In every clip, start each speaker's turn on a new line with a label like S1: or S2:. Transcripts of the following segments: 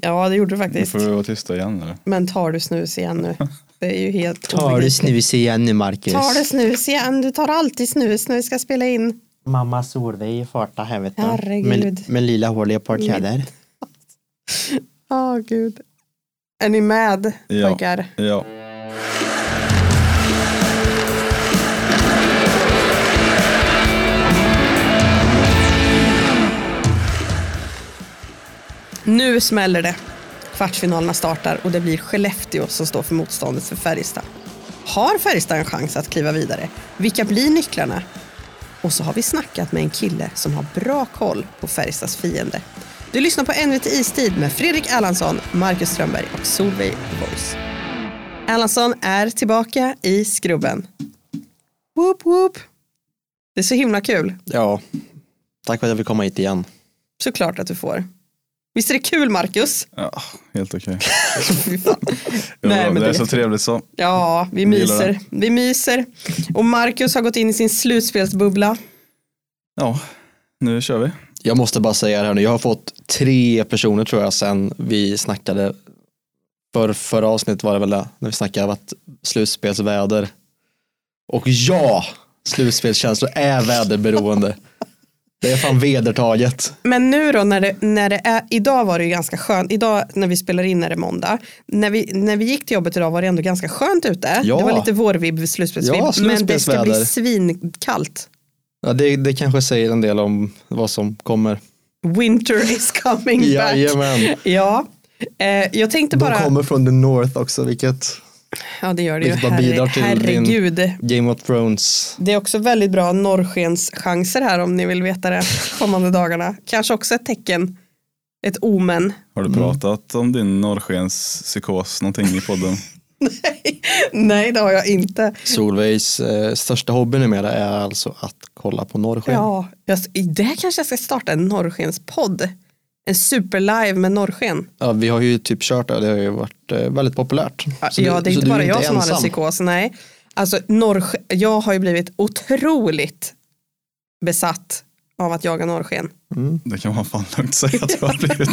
S1: Ja, det gjorde du
S2: Nu
S1: faktiskt.
S2: får vi vara tysta igen eller?
S1: Men tar du snus igen nu? Det är ju helt
S3: Tar du
S1: obegripligt.
S3: snus igen nu Marcus?
S1: Tar du snus igen? Du tar alltid snus när vi ska spela in.
S3: Mamma såg dig i farta här vet du.
S1: Herregud.
S3: Med, med lila hål i ett par kläder.
S1: Åh, gud. Är ni med
S2: Ja.
S1: pojkar?
S2: Ja.
S1: Nu smäller det. Kvartsfinalerna startar och det blir Skellefteå som står för motståndet för Färjestad. Har Färjestad en chans att kliva vidare? Vilka blir nycklarna? Och så har vi snackat med en kille som har bra koll på Färjestads fiende. Du lyssnar på NVT Istid med Fredrik Erlandsson, Marcus Strömberg och Solveig Voice. Erlandsson är tillbaka i skrubben. Whoop, whoop. Det är så himla kul.
S3: Ja. Tack för att jag fick komma hit igen.
S1: Såklart att du får. Visst är det kul, Marcus?
S2: ja, helt okej.
S1: Fy fan.
S2: Jo,
S1: Nej, men
S2: det
S1: det
S2: är
S1: vet
S2: så
S1: jag.
S2: trevligt så.
S1: Ja, vi
S2: Gillar det.
S1: myser. Vi myser. Och Marcus har gått in i sin slutspelsbubbla.
S2: Ja, nu kör vi.
S3: Jag måste bara säga det här nu. Jag har fått tre personer tror jag sen vi snackade. För förra avsnittet var det väl det. När vi snackade om att slutspelsväder. Och ja, slutspelskänslor är väderberoende. Det är fan vedertaget.
S1: Men nu då när det, när det är, idag var det ju ganska skönt, idag när vi spelar in är det måndag. När vi, när vi gick till jobbet idag var det ändå ganska skönt ute.
S3: Ja.
S1: Det var lite vårvibb, slutspelsvibb.
S3: Ja,
S1: men det ska bli
S3: slutspelsväder.
S1: svinkallt.
S3: Ja, det, det kanske säger en del om vad som kommer.
S1: Winter is coming back.
S3: Jajamän.
S1: Ja, eh, jag tänkte bara,
S3: De kommer från the North också, vilket
S1: ja det gör det ju,
S3: vilket bara bidrar
S1: Herre,
S3: till din-
S1: herregud.
S3: Game of Thrones.
S1: Det är också väldigt bra norrskenschanser här om ni vill veta det kommande dagarna. Kanske också ett tecken, ett omen.
S2: Har du pratat om din norrskens psykos någonting i podden?
S1: Nej, det har jag inte.
S3: Solvejs eh, största hobby numera är alltså att kolla på norrsken.
S1: Ja, jag, i det här kanske jag ska starta en norrskenspodd. En superlive med norrsken.
S3: Ja, vi har ju typ kört det, det har ju varit eh, väldigt populärt.
S1: Ja,
S3: Så du-
S1: ja, det är
S3: så
S1: inte
S3: du
S1: bara jag som har en
S3: ensam.
S1: psykos. Nej. Alltså, norrsk- jag har ju blivit otroligt besatt av att jaga norrsken.
S2: Det kan man fan lugnt säga att det har blivit.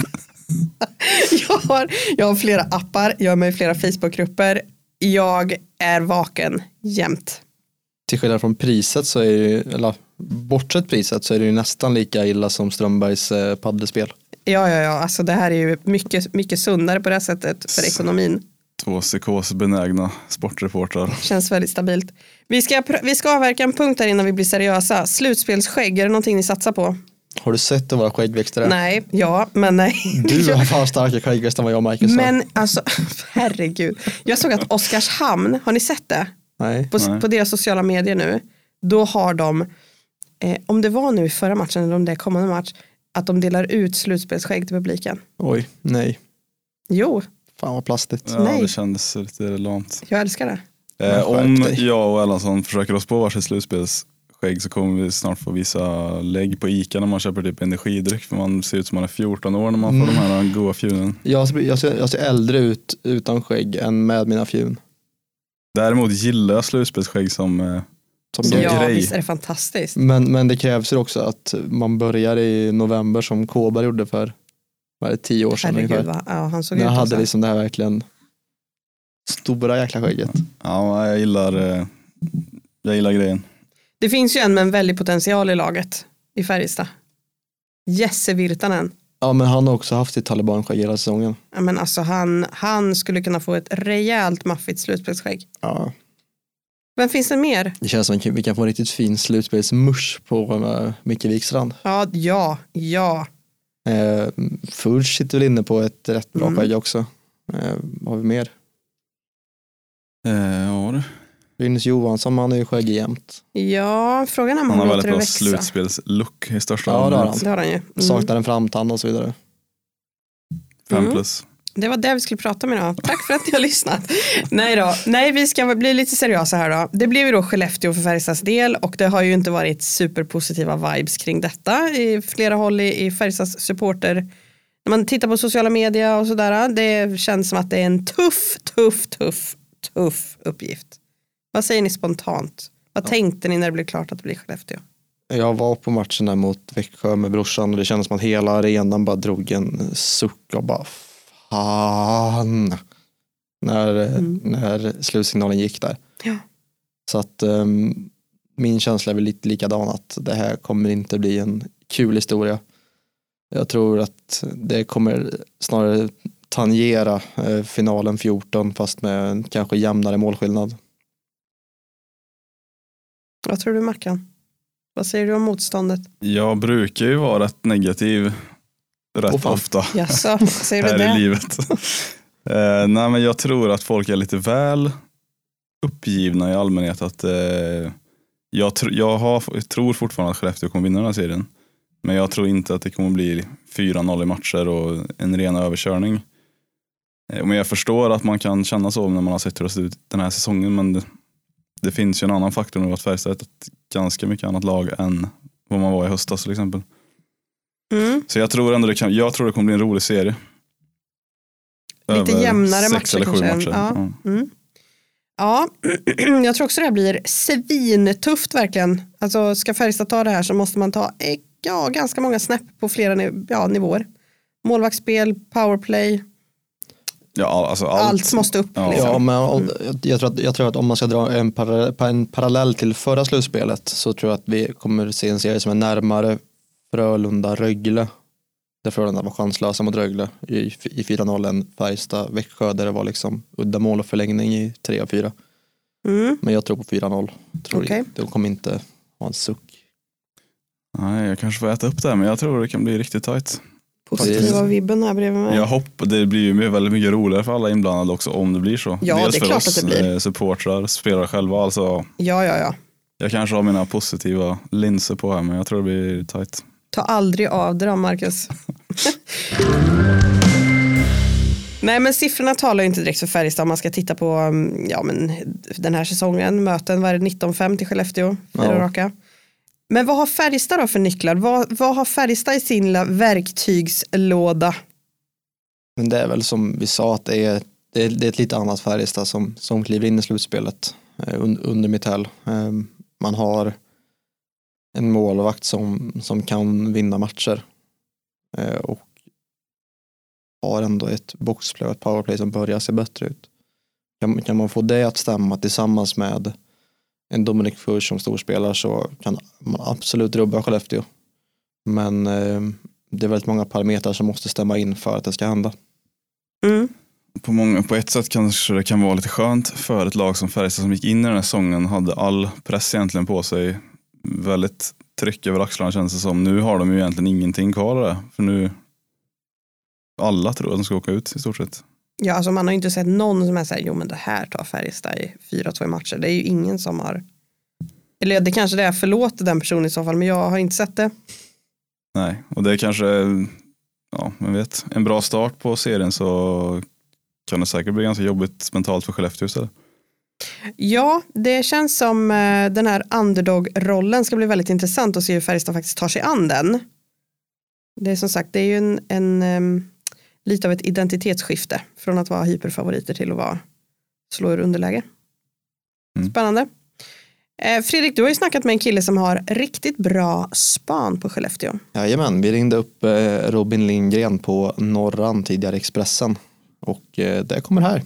S1: Jag har, jag har flera appar, jag är med i flera Facebookgrupper. Jag är vaken jämt.
S3: Till skillnad från priset så är det ju, eller bortsett priset så är det ju nästan lika illa som Strömbergs eh, paddelspel.
S1: Ja, ja, ja, alltså det här är ju mycket, mycket sundare på det här sättet för ekonomin.
S2: Två psykosbenägna sportreportrar.
S1: Känns väldigt stabilt. Vi ska, pr- vi ska avverka en punkt här innan vi blir seriösa. Slutspelsskägg, är det någonting ni satsar på?
S3: Har du sett hur våra skäggväxter är?
S1: Nej, ja, men nej.
S3: Du har fan starkare skäggväxt än vad jag och Marcus har.
S1: Men alltså, herregud. Jag såg att Oskarshamn, har ni sett det?
S3: Nej.
S1: På,
S2: Nej.
S1: på deras sociala medier nu. Då har de, eh, om det var nu i förra matchen eller om det är kommande match, att de delar ut slutspelsskägg till publiken.
S3: Oj, nej.
S1: Jo,
S3: Fan vad plastigt.
S2: Ja,
S1: Nej.
S2: det kändes lite lamt.
S1: jag älskar det.
S2: Eh,
S3: skärp
S2: om
S3: dig.
S2: jag och Erlandsson försöker oss på varsitt slutspelsskägg så kommer vi snart få visa lägg på Ica när man köper typ energidryck för man ser ut som man är 14 år när man
S1: Mm.
S2: får de här goa fjunen.
S3: Jag ser, jag, ser, jag ser äldre ut utan skägg än med mina fjun.
S2: Däremot gillar jag slutspelsskägg som eh,
S3: Som
S2: Som
S3: grej.
S1: Ja,
S2: grej.
S1: visst är det fantastiskt.
S3: Men, men det krävs ju också att man börjar i november som Kåberg gjorde för vad är det, tio år sedan
S1: Herregud,
S3: ungefär.
S1: vad, alltså. ja, han såg
S3: När
S1: ut
S3: han
S1: också.
S3: hade liksom det här verkligen stora jäkla skägget.
S2: Ja, jag gillar, eh, jag gillar grejen.
S1: Det finns ju en med en väldig potential i laget i Färjestad. Jesse Virtanen.
S3: Ja men han har också haft sitt talibanskägg hela säsongen.
S1: Ja, men alltså han, han skulle kunna få ett rejält maffigt slutspelsskägg.
S3: Ja.
S1: Vem finns det mer?
S3: Det känns som att vi kan få en riktigt fin slutspelsmush på uh, Micke Wikstrand.
S1: Ja, ja, ja.
S3: Uh, Furch sitter väl inne på ett rätt bra
S1: Mm.
S3: skägg också. Eh, vad har vi mer?
S2: Eh, ja, du.
S3: Linus Johansson, han är ju skäggig jämt.
S1: Ja, frågan är om
S2: Han
S1: han
S2: har
S1: låter
S2: väldigt
S1: det
S2: bra
S1: växa.
S2: slutspelslook i största
S3: Ja, det har
S2: allmänhet.
S1: Det har han ju. Mm.
S3: Saknar en framtand och så vidare.
S2: Fem
S1: Mm.
S2: plus.
S1: Det var det vi skulle prata om idag. Tack för att ni har lyssnat. Nej då, nej vi ska bli lite seriösa här då. Det blev ju då Skellefteå för Färjestads del och det har ju inte varit superpositiva vibes kring detta i flera håll i, i Färjestads supporter. När man tittar på sociala medier och sådär, det känns som att det är en tuff, tuff, tuff, tuff uppgift. Vad säger ni spontant? Vad tänkte ni när det blev klart att det blir Skellefteå?
S3: Jag var på matchen där mot Växjö med brorsan och det kändes som att hela arenan bara drog en suck och bara fan när,
S1: Mm.
S3: när slutsignalen gick där.
S1: Ja.
S3: Så att ehm, min känsla är väl lite likadan att det här kommer inte bli en kul historia. Jag tror att det kommer snarare tangera eh, finalen 14 fast med en kanske jämnare målskillnad.
S1: Vad tror du Mackan? Vad säger du om motståndet?
S2: Jag brukar ju vara rätt negativ rätt
S3: Åh, fan.
S2: ofta
S1: Jaså, säger du
S2: här i
S1: det?
S2: livet. Eh, nej, men jag tror att folk är lite väl uppgivna i allmänhet. Att, eh, jag tr- jag har, tror fortfarande att Skellefteå kommer vinna den här serien. Men jag tror inte att det kommer bli 4-0 i matcher och en ren överkörning. Eh, men jag förstår att man kan känna så när man har sett hur det ser ut den här säsongen. Men det, det finns ju en annan faktor nu att Färjestad är ett ganska mycket annat lag än vad man var i höstas till exempel.
S1: Mm.
S2: Så jag tror ändå det, kan, jag tror det kommer bli en rolig serie.
S1: Lite jämnare
S2: sex
S1: matcher
S2: eller sju
S1: kanske än-
S2: matcher.
S1: ja. Mm. Ja, jag tror också det här blir svintufft verkligen. Alltså ska Färjestad ta det här så måste man ta eh, ja, ganska många snäpp på flera niv- ja, nivåer. Målvaktsspel, powerplay,
S2: Ja, alltså allt.
S1: allt, måste upp.
S2: Ja.
S1: Liksom.
S3: Ja, men om, jag, tror att, jag tror att om man ska dra en, parallell, en parallell till förra slutspelet så tror jag att vi kommer se en serie som är närmare Frölunda-Rögle. Där Frölunda var chanslösa mot Rögle i, i 4-0 än Färjestad-Växjö där det var liksom uddamål och förlängning i 3 av 4.
S1: Mm.
S3: Men jag tror på 4-0. Tror
S1: Okej.
S3: De kommer inte ha en suck.
S2: Nej, jag kanske får äta upp det här men jag tror det kan bli riktigt tajt.
S3: Precis.
S1: Positiva vibben här bredvid mig.
S2: Jag hopp, det blir ju my- väldigt mycket roligare för alla inblandade också om det blir så.
S1: Ja, det är
S2: för
S1: klart
S2: oss
S1: att det blir.
S2: eh, supportrar, spelare själva. Alltså,
S1: Ja, ja, ja.
S2: jag kanske har mina positiva linser på här men jag tror det blir tajt.
S1: Ta aldrig av dig då, Marcus. Nej, men siffrorna talar ju inte direkt för Färjestad om man ska titta på mm, ja, men den här säsongen. Möten var det 19-5 till Skellefteå, fyra
S3: Ja.
S1: raka. Men vad har Färjestad då för nycklar? Vad, vad har Färjestad i sin lilla verktygslåda?
S3: Men det är väl som vi sa att det är, det är, det är ett lite annat Färjestad som, som kliver in i slutspelet eh, un, under Mitell. Eh, man har en målvakt som, som kan vinna matcher eh, och har ändå ett boxplay och ett powerplay som börjar se bättre ut. Kan, kan man få det att stämma tillsammans med en Dominic Furch som storspelare så kan man absolut rubba Skellefteå. Men eh, det är väldigt många parametrar som måste stämma in för att det ska hända.
S1: Mm.
S2: På, många, på ett sätt kanske det kan vara lite skönt för ett lag som Färjestad som gick in i den här säsongen hade all press egentligen på sig. Väldigt tryck över axlarna känns det som. Nu har de ju egentligen ingenting kvar där. För nu alla tror att de ska åka ut i stort sett.
S1: Ja, alltså man har ju inte sett någon som är så här, jo men det här tar Färjestad i 4-2 i matcher. Det är ju ingen som har, eller det kanske det är, förlåt den personen i så fall, men jag har inte sett det.
S2: Nej, och det är kanske, ja man vet, en bra start på serien så kan det säkert bli ganska jobbigt mentalt för Skellefteå istället.
S1: Ja, det känns som eh, den här underdog-rollen ska bli väldigt intressant att se hur Färjestad faktiskt tar sig an den. Det är som sagt, det är ju en, en ehm, lite av ett identitetsskifte från att vara hyperfavoriter till att vara slå ur underläge.
S2: Mm.
S1: Spännande. Eh, Fredrik, du har ju snackat med en kille som har riktigt bra span på Skellefteå.
S3: Jajamän, vi ringde upp eh, Robin Lindgren på Norran, tidigare Expressen. Och eh, det kommer här.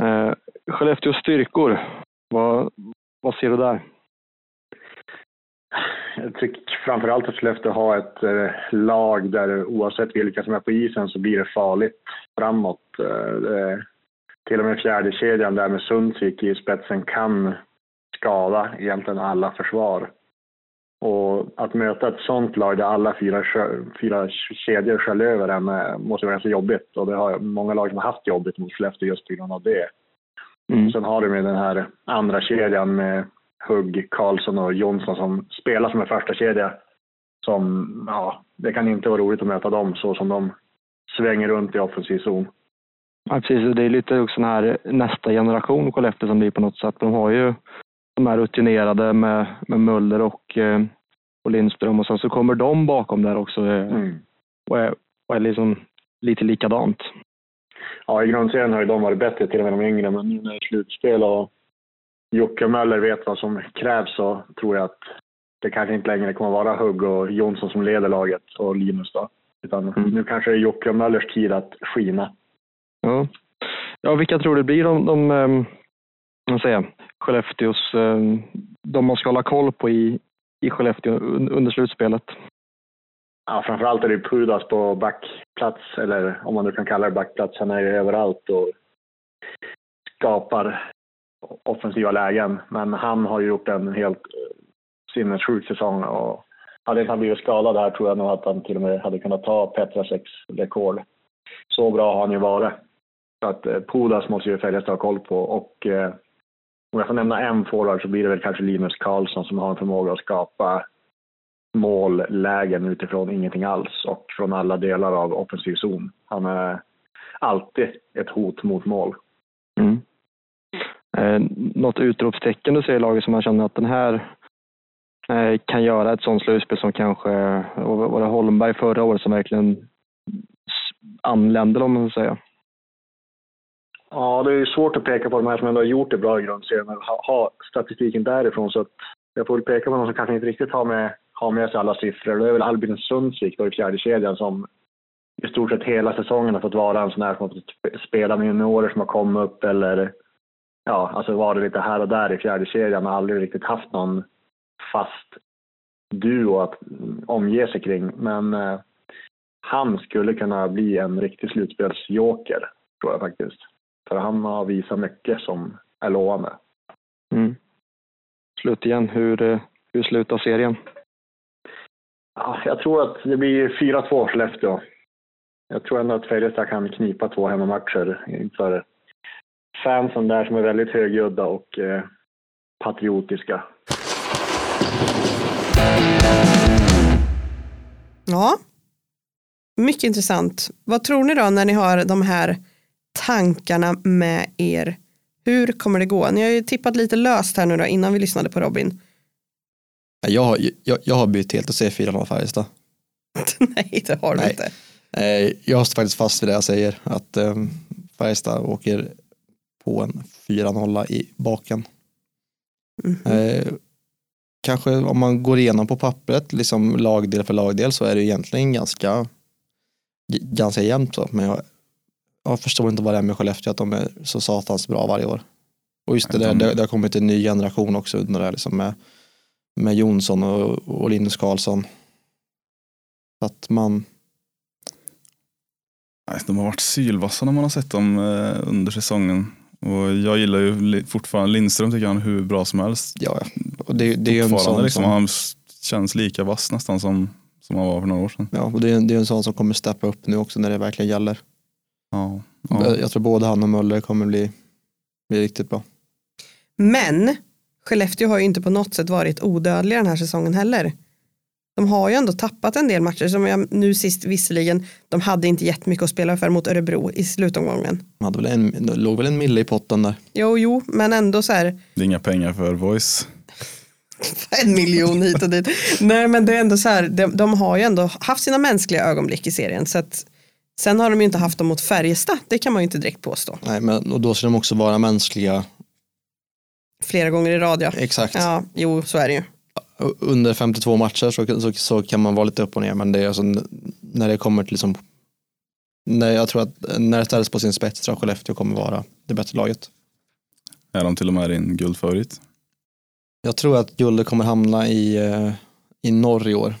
S4: Eh, Skellefteås styrkor, vad, vad ser du där?
S5: Jag tycker framförallt att Skellefteå har ett eh, lag där oavsett vilka som är på isen så blir det farligt framåt. Eh, det, till och med fjärde kedjan där med Sundsvik i spetsen kan skada egentligen alla försvar. Och att möta ett sånt lag där alla fyra, kö- fyra kedjor sköljer över en eh, måste vara ganska jobbigt. Och det har många lag som har haft jobbigt mot Skellefteå just på grund av det. Sen har du ju den här andra kedjan med Hugg, Karlsson och Jonsson som spelar som en första kedja. Som, ja, det kan inte vara roligt att möta dem så som de svänger runt i offensiv zon.
S4: Ja, precis, det är lite också den här nästa generation Skellefteå som blir på något sätt. De har ju de här rutinerade med, med Möller och, eh, och Lindström och sen så kommer de bakom där också eh,
S3: Mm.
S5: Mm.
S4: och är, och är liksom lite likadant.
S5: Ja, i grundserien har ju de varit bättre, till och med de yngre, men nu när det är slutspel och Jocke Möller vet vad som krävs så tror jag att det kanske inte längre kommer vara Hugg och Jonsson som leder laget och Linus då. Utan
S4: Mm.
S5: nu kanske det är Jocke och Möllers tid att skina.
S4: Ja. ja, vilka tror du blir de, de ehm, vad säger jag, Skellefteås, ehm, de man ska hålla koll på i, i Skellefteå un- under slutspelet?
S5: Ja, framförallt är det ju Pudas på backplats, eller om man nu kan kalla det backplats. Han är ju överallt och skapar offensiva lägen. Men han har ju gjort en helt eh, sinnessjuk säsong och hade inte han blivit skadad här tror jag nog att han till och med hade kunnat ta Petraseks rekord. Så bra har han ju varit. Så att eh, Pudas måste ju Färjestad ha koll på och eh, om jag får nämna en forward så blir det väl kanske Linus Karlsson som har en förmåga att skapa mållägen utifrån ingenting alls och från alla delar av offensiv zon. Han är alltid ett hot mot mål.
S4: Mm. Eh, något utropstecken du ser i laget som man känner att den här eh, kan göra ett sånt slutspel som kanske och var det Holmberg förra året som verkligen s- anlände om man ska säga.
S5: Ja, det är ju svårt att peka på de här som ändå har gjort det bra i grundserien och ha, ha statistiken därifrån. Så att jag får väl peka på någon som kanske inte riktigt har med, har med sig alla siffror. Det är väl Albin Sundsvik då i fjärde kedjan som i stort sett hela säsongen har fått vara en sån här som har fått sp- spela med juniorer som har kommit upp eller ja, alltså var det lite här och där i fjärde kedjan och aldrig riktigt haft någon fast duo att mm, omge sig kring. Men eh, han skulle kunna bli en riktig slutspelsjoker tror jag faktiskt. För han har visat mycket som är lovande.
S4: Mm. Slut igen, hur, eh, hur slutar serien?
S5: Ja, Jag tror att det blir 4-2 Skellefteå. Jag tror ändå att Färjestad kan knipa två hemmamatcher inför fansen där som är väldigt högljudda och eh, patriotiska.
S1: Ja, mycket intressant. Vad tror ni då när ni har de här tankarna med er? Hur kommer det gå? Ni har ju tippat lite löst här nu då innan vi lyssnade på Robin.
S3: Jag, har- jag, jag har bytt helt och säger 4-0 Färjestad.
S1: Nej, det har du
S3: Nej.
S1: inte.
S3: Eh, Jag står faktiskt fast vid det jag säger, att eh, Färjestad åker på en 4-0 i baken.
S1: Mhm.
S2: Mm.
S3: Eh, Kanske om man går igenom på pappret, liksom lagdel för lagdel, så är det egentligen ganska, g- ganska jämnt. Så. Men jag, jag förstår inte vad det är med Skellefteå, att de är så satans bra varje år. Och just det,
S2: Mm.
S3: där, det, det har kommit en ny generation också under det här, liksom med, med Jonsson och, och Linus Karlsson. Så Att man,
S2: Nej, De har varit sylvassa när man har sett dem eh, under säsongen. Och jag gillar ju li- fortfarande Lindström, tycker han är hur bra som helst.
S3: ja, ja. Och det, det är ju en
S2: Fortfarande
S3: sån
S2: liksom,
S3: som,
S2: han s- känns lika vass nästan som, som han var för några år sedan.
S3: Ja, och det är, det är en sån som kommer steppa upp nu också när det verkligen gäller.
S2: Ja, ja.
S3: Jag- Jag tror både han och Möller kommer bli, bli riktigt bra.
S1: Men Skellefteå har ju inte på något sätt varit odödliga den här säsongen heller. De har ju ändå tappat en del matcher som jag nu sist visserligen, de hade inte jättemycket att spela för mot Örebro i slutomgången.
S3: De hade väl en, det låg väl en mille i potten där.
S1: Jo, jo, men ändå så här,
S2: Det är inga pengar för voice.
S1: en miljon hit och dit. Nej men det är ändå så här, de, de har ju ändå haft sina mänskliga ögonblick i serien. Så att, sen har de ju inte haft dem mot Färjestad, det kan man ju inte direkt påstå.
S3: Nej, men, och då ska de också vara mänskliga.
S1: Flera gånger i rad ja.
S3: Exakt.
S1: Ja, jo så är det ju.
S3: U- Under 52 matcher så, så, så kan man vara lite upp och ner, men det är alltså, n- när det kommer till liksom, när jag tror att när det ställs på sin spets tror jag Skellefteå kommer vara det bättre laget.
S2: Är de till och med din guldfavorit?
S3: Jag tror att guldet kommer hamna i, eh, i norr i år.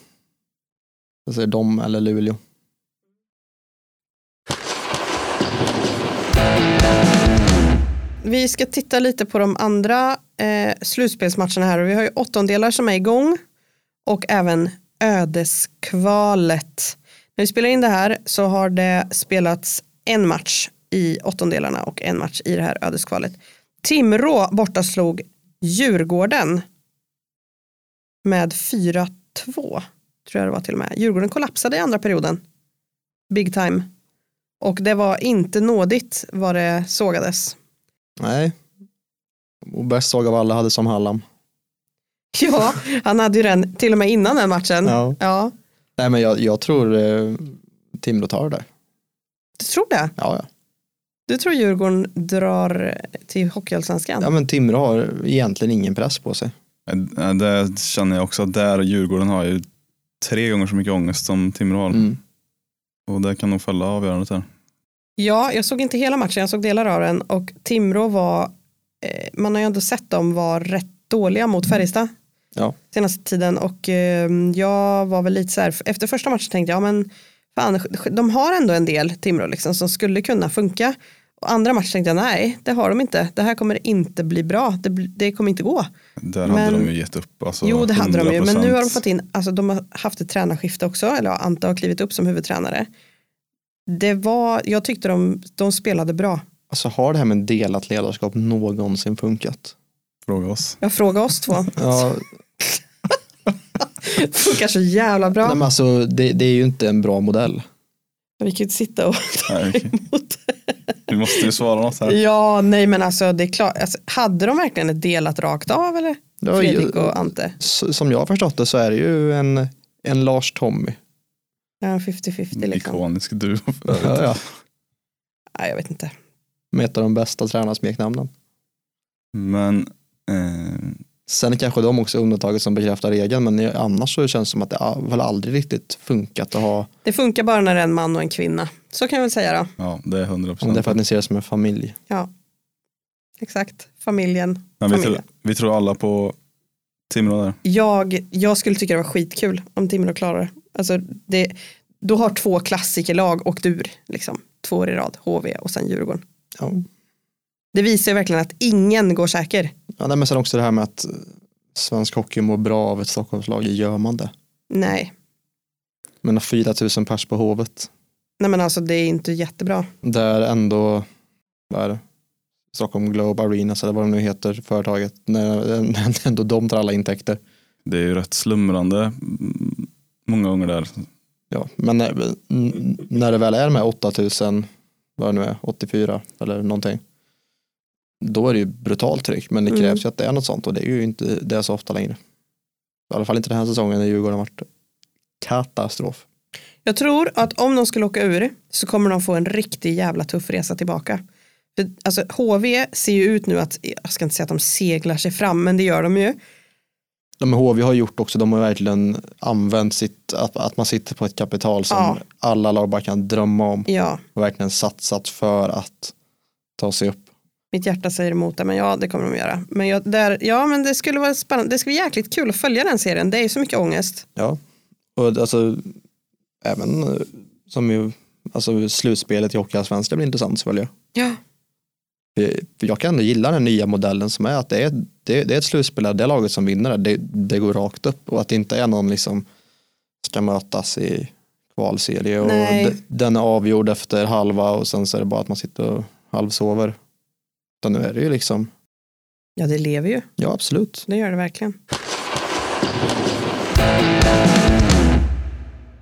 S3: Jag säger de eller Luleå.
S1: Vi ska titta lite på de andra eh, slutspelsmatcherna här och vi har ju åttondelar som är igång och även ödeskvalet. När vi spelar in det här så har det spelats en match i åttondelarna och en match i det här ödeskvalet. Timrå borta slog Djurgården med 4-2 tror jag det var till och med. Djurgården kollapsade i andra perioden. Big time. Och det var inte nådigt vad det sågades.
S3: Nej. Och bäst såg av alla hade som Hallam.
S1: Ja, han hade ju den till och med innan den matchen. Ja.
S3: Ja. Nej men jag, jag tror eh, Timrå tar det där.
S1: du tror det?
S3: Ja, ja.
S1: Du tror Djurgården drar till Hockeyallsvenskan?
S3: ja men Timrå har egentligen ingen press på sig.
S2: Eh, Det känner jag också att där Djurgården har ju tre gånger så mycket ångest som Timrå har.
S3: Mm.
S2: Och det kan nog fälla avgörandet där.
S1: Ja, jag såg inte hela matchen, jag såg delar av den och Timrå var, eh, man har ju ändå sett dem var rätt dåliga mot Färjestad
S3: Ja.
S1: senaste tiden och eh, jag var väl lite så här, efter första matchen tänkte jag, ja, men fan, de har ändå en del Timrå liksom som skulle kunna funka. Och andra matchen tänkte jag, nej, det har de inte, det här kommer inte bli bra, det, bli- det kommer inte gå.
S2: Där
S1: Men-
S2: hade de ju gett upp. Alltså,
S1: Jo det hade de ju, men nu har de
S2: 100%.
S1: fått in, alltså de har haft ett tränarskifte också, eller ja, Ante har klivit upp som huvudtränare. Det var, jag tyckte de, de spelade bra.
S3: Alltså har det här med delat ledarskap någonsin funkat?
S2: Fråga oss.
S1: Jag frågar oss två,
S3: Ja,
S1: det funkar så jävla bra.
S3: nej, men alltså, det, det är ju inte en bra modell.
S1: Vi kan ju inte sitta och ta
S2: Nej, okej.
S1: emot.
S2: Vi måste ju svara något här.
S1: Ja, nej men alltså det är klart, alltså, hade de verkligen ett delat rakt av eller?
S3: Det var ju-
S1: Fredrik och Ante,
S3: S- Som jag har förstått det så är det ju en, en Lars-Tommy.
S1: ja, 50-50 liksom.
S2: Ikonisk duo. för övrigt.
S3: Ja, ja.
S1: Nej, jag vet inte.
S3: Med ett av de bästa tränarsmeknamnen.
S2: Men eh,
S3: Sen är kanske de också undantaget som bekräftar regeln men annars så känns det som att det a- väl aldrig riktigt funkat att ha
S1: Det funkar bara när det är en man och en kvinna, så kan jag väl säga då.
S2: ja, det är 100
S3: om det är
S2: procent.
S3: för att ni ser det som en familj.
S1: Ja, exakt, familjen.
S2: Men vi, tror,
S1: familjen.
S2: vi tror alla på Timrå där.
S1: jag, jag skulle tycka det var skitkul om Timrå klarar det. Alltså det. Då har två klassikerlag åkt ur, liksom. två år i rad, HV och sen Djurgården.
S3: Ja.
S1: Det visar ju verkligen att ingen går säker.
S3: Ja, nej, men sen också det här med att eh, svensk hockey mår bra av ett Stockholmslag, gör man det?
S1: Nej,
S3: Men 4000 pers på Hovet,
S1: Nej men alltså det är inte jättebra.
S3: där ändå, vad är det? Stockholm Globe Arenas eller vad de nu heter, företaget, när, när ändå de tar alla intäkter.
S2: Det är ju rätt slumrande mm, många gånger där.
S3: Ja, men när, n- när det väl är de här 8000, vad det nu är, 84 eller någonting, då är det ju brutalt tryck. Men det
S1: Mm.
S3: krävs ju att det är något sånt och det är ju inte det är så ofta längre. I alla fall inte den här säsongen när Djurgården har varit katastrof.
S1: Jag tror att om de skulle åka ur så kommer de få en riktig jävla tuff resa tillbaka. För, Alltså HV ser ju ut nu att, jag ska inte säga att de seglar sig fram, men det gör de ju.
S3: Ja, men HV har gjort också, de har verkligen använt sitt, att, att man sitter på ett kapital som
S1: Ja.
S3: alla lag bara kan drömma om
S1: Ja,
S3: och verkligen satsat för att ta sig upp.
S1: mitt hjärta säger emot det, men ja det kommer de göra. Men, jag, där, ja, men det skulle vara spännande, det skulle bli jäkligt kul att följa den serien, det är ju så mycket ångest.
S3: Ja, och alltså även eh, som ju, alltså slutspelet i Hockeyallsvenskan blir intressant att följa.
S1: Ja.
S3: För- för Eh, Jag kan ändå gilla den nya modellen som är att det är, det, det är ett slutspel där det laget som vinner det, det går rakt upp och att det inte är någon liksom ska mötas i kvalserie och
S1: Nej.
S3: de- den är avgjord efter halva och sen så är det bara att man sitter och halvsover. Utan nu är det ju liksom,
S1: ja, det lever ju,
S3: ja absolut.
S1: det gör det verkligen.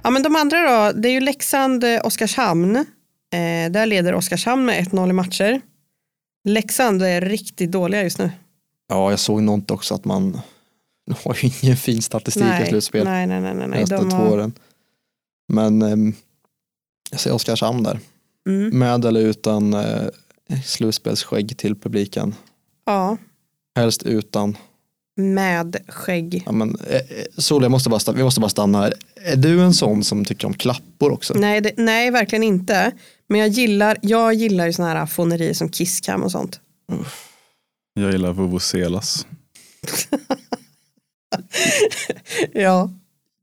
S1: Ja men de andra då, det är ju Leksand, eh, Oskarshamn. Eh, där leder Oskarshamn med 1-0 i matcher. Leksand är riktigt dåliga just nu.
S3: Ja, jag såg något också att man de har ju ingen fin statistik i slutspel.
S1: nej, nej, nej, nej, nej.
S3: nästa
S1: De
S3: två
S1: har,
S3: åren. Men ehm, jag säger Oskarshamn där.
S1: mm,
S3: Med eller utan eh, slutspelsskägg till publiken.
S1: ja,
S3: Helst utan.
S1: med skägg.
S3: Ja, men, eh, eh, Sol, jag måste bara, sta- vi måste bara stanna här. Är du en sån som tycker om klappor också?
S1: Nej, det, nej, verkligen inte. Men jag gillar, jag gillar ju såna här fånerier som Kisskam och sånt.
S2: Jag gillar vuvuzelas.
S1: Ja.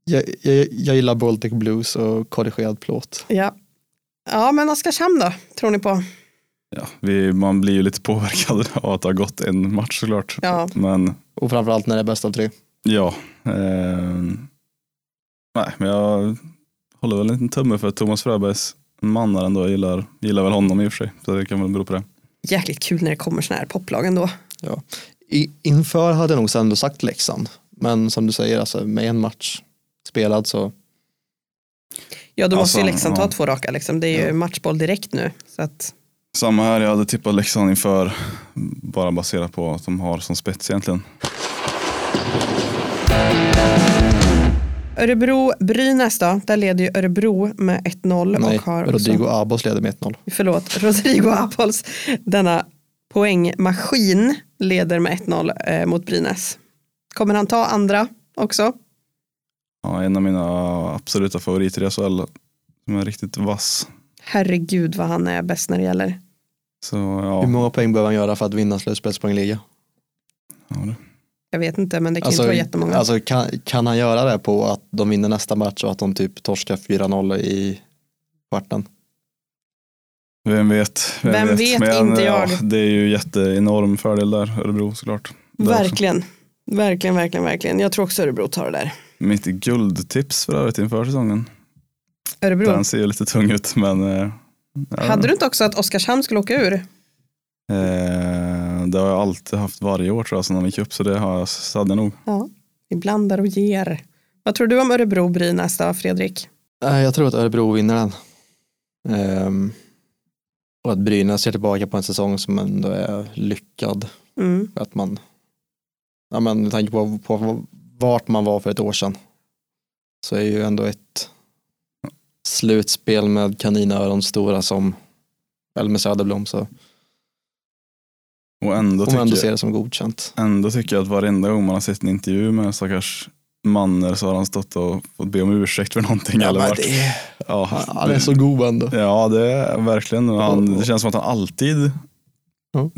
S3: Jag, jag, jag gillar Baltic Blues och korrigerad plåt.
S1: Ja, ja men Oskarshamn då, tror ni på?
S2: Ja, vi, man blir ju lite påverkad av att det har gått en match såklart.
S1: Ja.
S2: Men
S3: Och framförallt när det är bäst av tre.
S2: ja, eh, nej, men jag håller väl en liten tumme för Thomas Fröbergs mannar ändå. Jag gillar, gillar väl honom i och för sig. Så det kan väl bero på det.
S1: Jäkligt kul när det kommer såna här poplag ändå.
S3: I, inför hade jag nog ändå sagt Leksand. Men som du säger, alltså, med en match spelad så
S1: Ja, då måste
S2: Alltså,
S1: ju Leksand ta
S2: ja.
S1: två raka liksom. Det är ju matchboll direkt nu. Så att,
S2: Samma här, jag hade tippat Leksand inför. Bara baserat på att de har som spets egentligen.
S1: Örebro, Brynäs då, där leder ju Örebro med 1-0
S3: nej,
S1: och har
S3: Rodrigo
S1: också,
S3: Abos leder med 1-0.
S1: förlåt, Rodrigo Apols, denna poängmaskin leder med 1-0 eh, mot Brynäs. Kommer han ta andra också?
S2: Ja, en av mina absoluta favoriter i SHL. Som är riktigt vass.
S1: Herregud vad han är bäst när det gäller.
S2: Så
S3: Hur
S2: ja.
S3: många poäng behöver han göra för att vinna slutspelspoängliga?
S2: ja det.
S1: Jag vet inte men det kan inte vara jättemånga.
S3: alltså kan, kan han göra det på att de vinner nästa match och att de typ torskar 4-0 i kvarten?
S2: Vem vet?
S1: Vem vet, inte jag.
S2: Ja, det är ju jätteenorm fördel där, Örebro såklart. Där också.
S1: verkligen. Verkligen, verkligen, verkligen. Jag tror också Örebro tar det där.
S2: Mitt guldtips för övrigt inför säsongen.
S1: Örebro.
S2: Den ser ju lite tung ut men... eh, ja.
S1: Hade du inte också att Oskarshamn skulle åka ur?
S2: Eh, det har jag alltid haft varje år tror jag sedan de gick upp så det har jag, så hade jag nog.
S1: Ja, vi blandar och ger. Vad tror du om Örebro Bry nästa Fredrik?
S3: Nej, Jag tror att Örebro vinner den. Ehm, och att Brynäs ser tillbaka på en säsong som ändå är lyckad.
S1: Mm.
S3: För att man, ja men med tanke på, på vart man var för ett år sedan, så är ju ändå ett slutspel med kaninöron stora som, eller med Söderblom, så
S2: Och ändå
S3: får man
S2: tycker,
S3: ändå
S2: ändå,
S3: se det som godkänt.
S2: tycker jag att varenda gång man har sett en intervju med stackars Manner så har han stått och fått be om ursäkt för någonting. eller varit,
S3: är,
S2: ja,
S3: han är så god ändå.
S2: Ja, det är verkligen. Och Han, det känns som att han alltid
S3: Ja.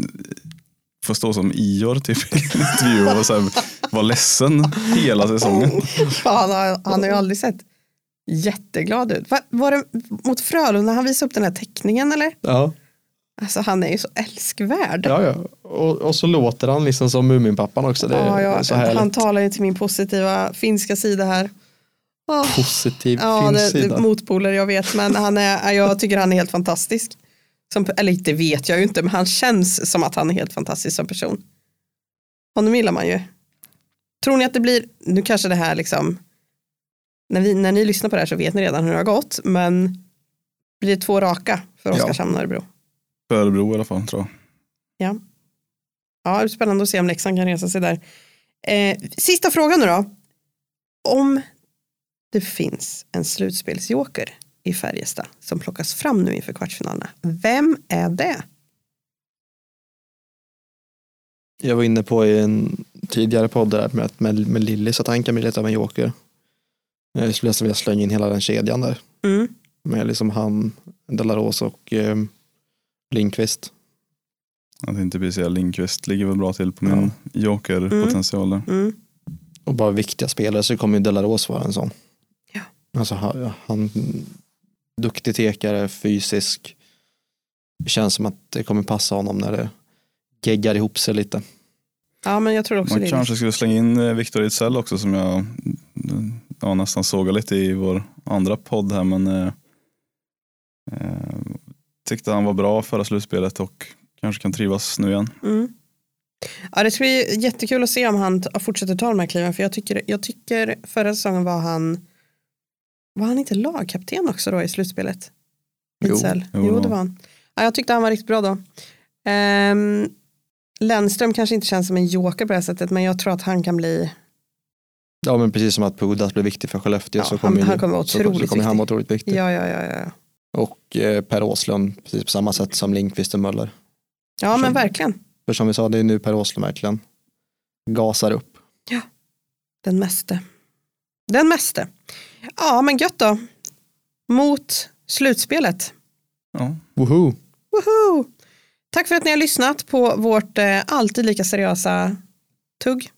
S2: får stå som Ior typ, i en intervju och så här, vara ledsen hela säsongen.
S1: Fan, han- han har ju aldrig sett jätteglad ut. Va, var det mot Frölunda han visade upp den här teckningen eller?
S3: Ja,
S1: Alltså han är ju så älskvärd.
S3: ja, ja. Och, och så låter han liksom som Muminpappan också. Det är
S1: Ja, ja,
S3: så härligt.
S1: han talar ju till min positiva finska sida här. Åh,
S3: Positiv
S1: ja,
S3: finns
S1: det, det,
S3: sida.
S1: motpoler jag vet, men han är, jag tycker han är helt fantastisk. Som, eller det vet jag ju inte, men han känns som att han är helt fantastisk som person. Honom gillar man ju. Tror ni att det blir, nu kanske det här liksom, när, vi, när ni lyssnar på det här så vet ni redan hur det har gått, men blir det två raka för
S3: Ja.
S1: Oskarshamn och Örebro?
S2: För Örebro i alla fall tror jag.
S1: Ja, det är spännande att se om Leksand kan resa sig där. Eh, sista frågan nu då. Om det finns en slutspelsjoker i Färjestad som plockas fram nu inför kvartsfinalerna. Vem är det?
S3: Jag var inne på i en tidigare podd där med, att- med, med Lilly, så att han kan bli lite av en joker. Jag skulle nästan vilja slänga in hela den kedjan där.
S1: Mm.
S3: Med liksom han, Delaros och eh, Lindqvist.
S2: Jag tänkte precis säga Lindqvist ligger väl bra till på min jokerpotential där.
S1: Mm.
S3: Och bara viktiga spelare så kommer ju Delaros vara en sån.
S1: Ja.
S3: Alltså han, han duktig tekare, fysisk. Det känns som att det kommer passa honom när det geggar ihop sig lite.
S1: Ja, men jag tror också
S2: Man
S1: det.
S2: kanske skulle slänga in eh, Victor Ejdsell också som jag eh, ja, nästan såg lite i vår andra podd här men eh, eh, tyckte han var bra förra slutspelet och kanske kan trivas nu igen.
S1: Mm. Ja, det ska bli jättekul att se om han t- fortsätter ta de här kliven. För jag tycker, jag tycker förra säsongen var han, var han inte lagkapten också då i slutspelet?
S3: Jo.
S1: Ejdsell.
S2: Jo,
S1: Jo,
S2: det var
S1: det
S2: han.
S1: var han. Ja, jag tyckte han var riktigt bra då. Ehm, Lennström kanske inte känns som en joker på det här sättet men jag tror att han kan bli,
S3: Ja men precis som att Pudas blev viktig för Skellefteå
S1: Ja,
S3: så
S1: han-
S3: kommer ju-
S1: han kommer vara
S3: så- så
S1: otroligt
S3: kommer han
S1: viktig.
S3: vara otroligt
S2: Typ.
S3: viktig.
S1: ja ja ja ja.
S3: Och eh, Per Åslund, precis på samma sätt som Lindqvist och Möller.
S1: Ja men
S3: Som-
S1: verkligen,
S3: För som vi sa, det är nu Per Åslund verkligen gasar upp.
S1: den meste. Den meste. Ja men gött då. Mot slutspelet.
S2: Ja.
S3: Woho!
S1: Woho! Tack för att ni har lyssnat på vårt eh, alltid lika seriösa tugg.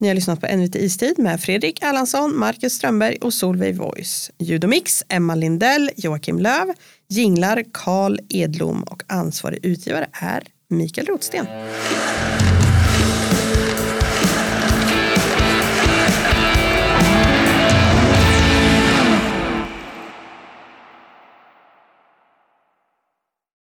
S1: Ni har lyssnat på En vit istid med Fredrik Erlandsson, Marcus Strömberg och Solveig Voice. Ljud och mix Emma Lindell, Joakim Löv, jinglar Karl Edlom och ansvarig utgivare är Mikael Rotsten.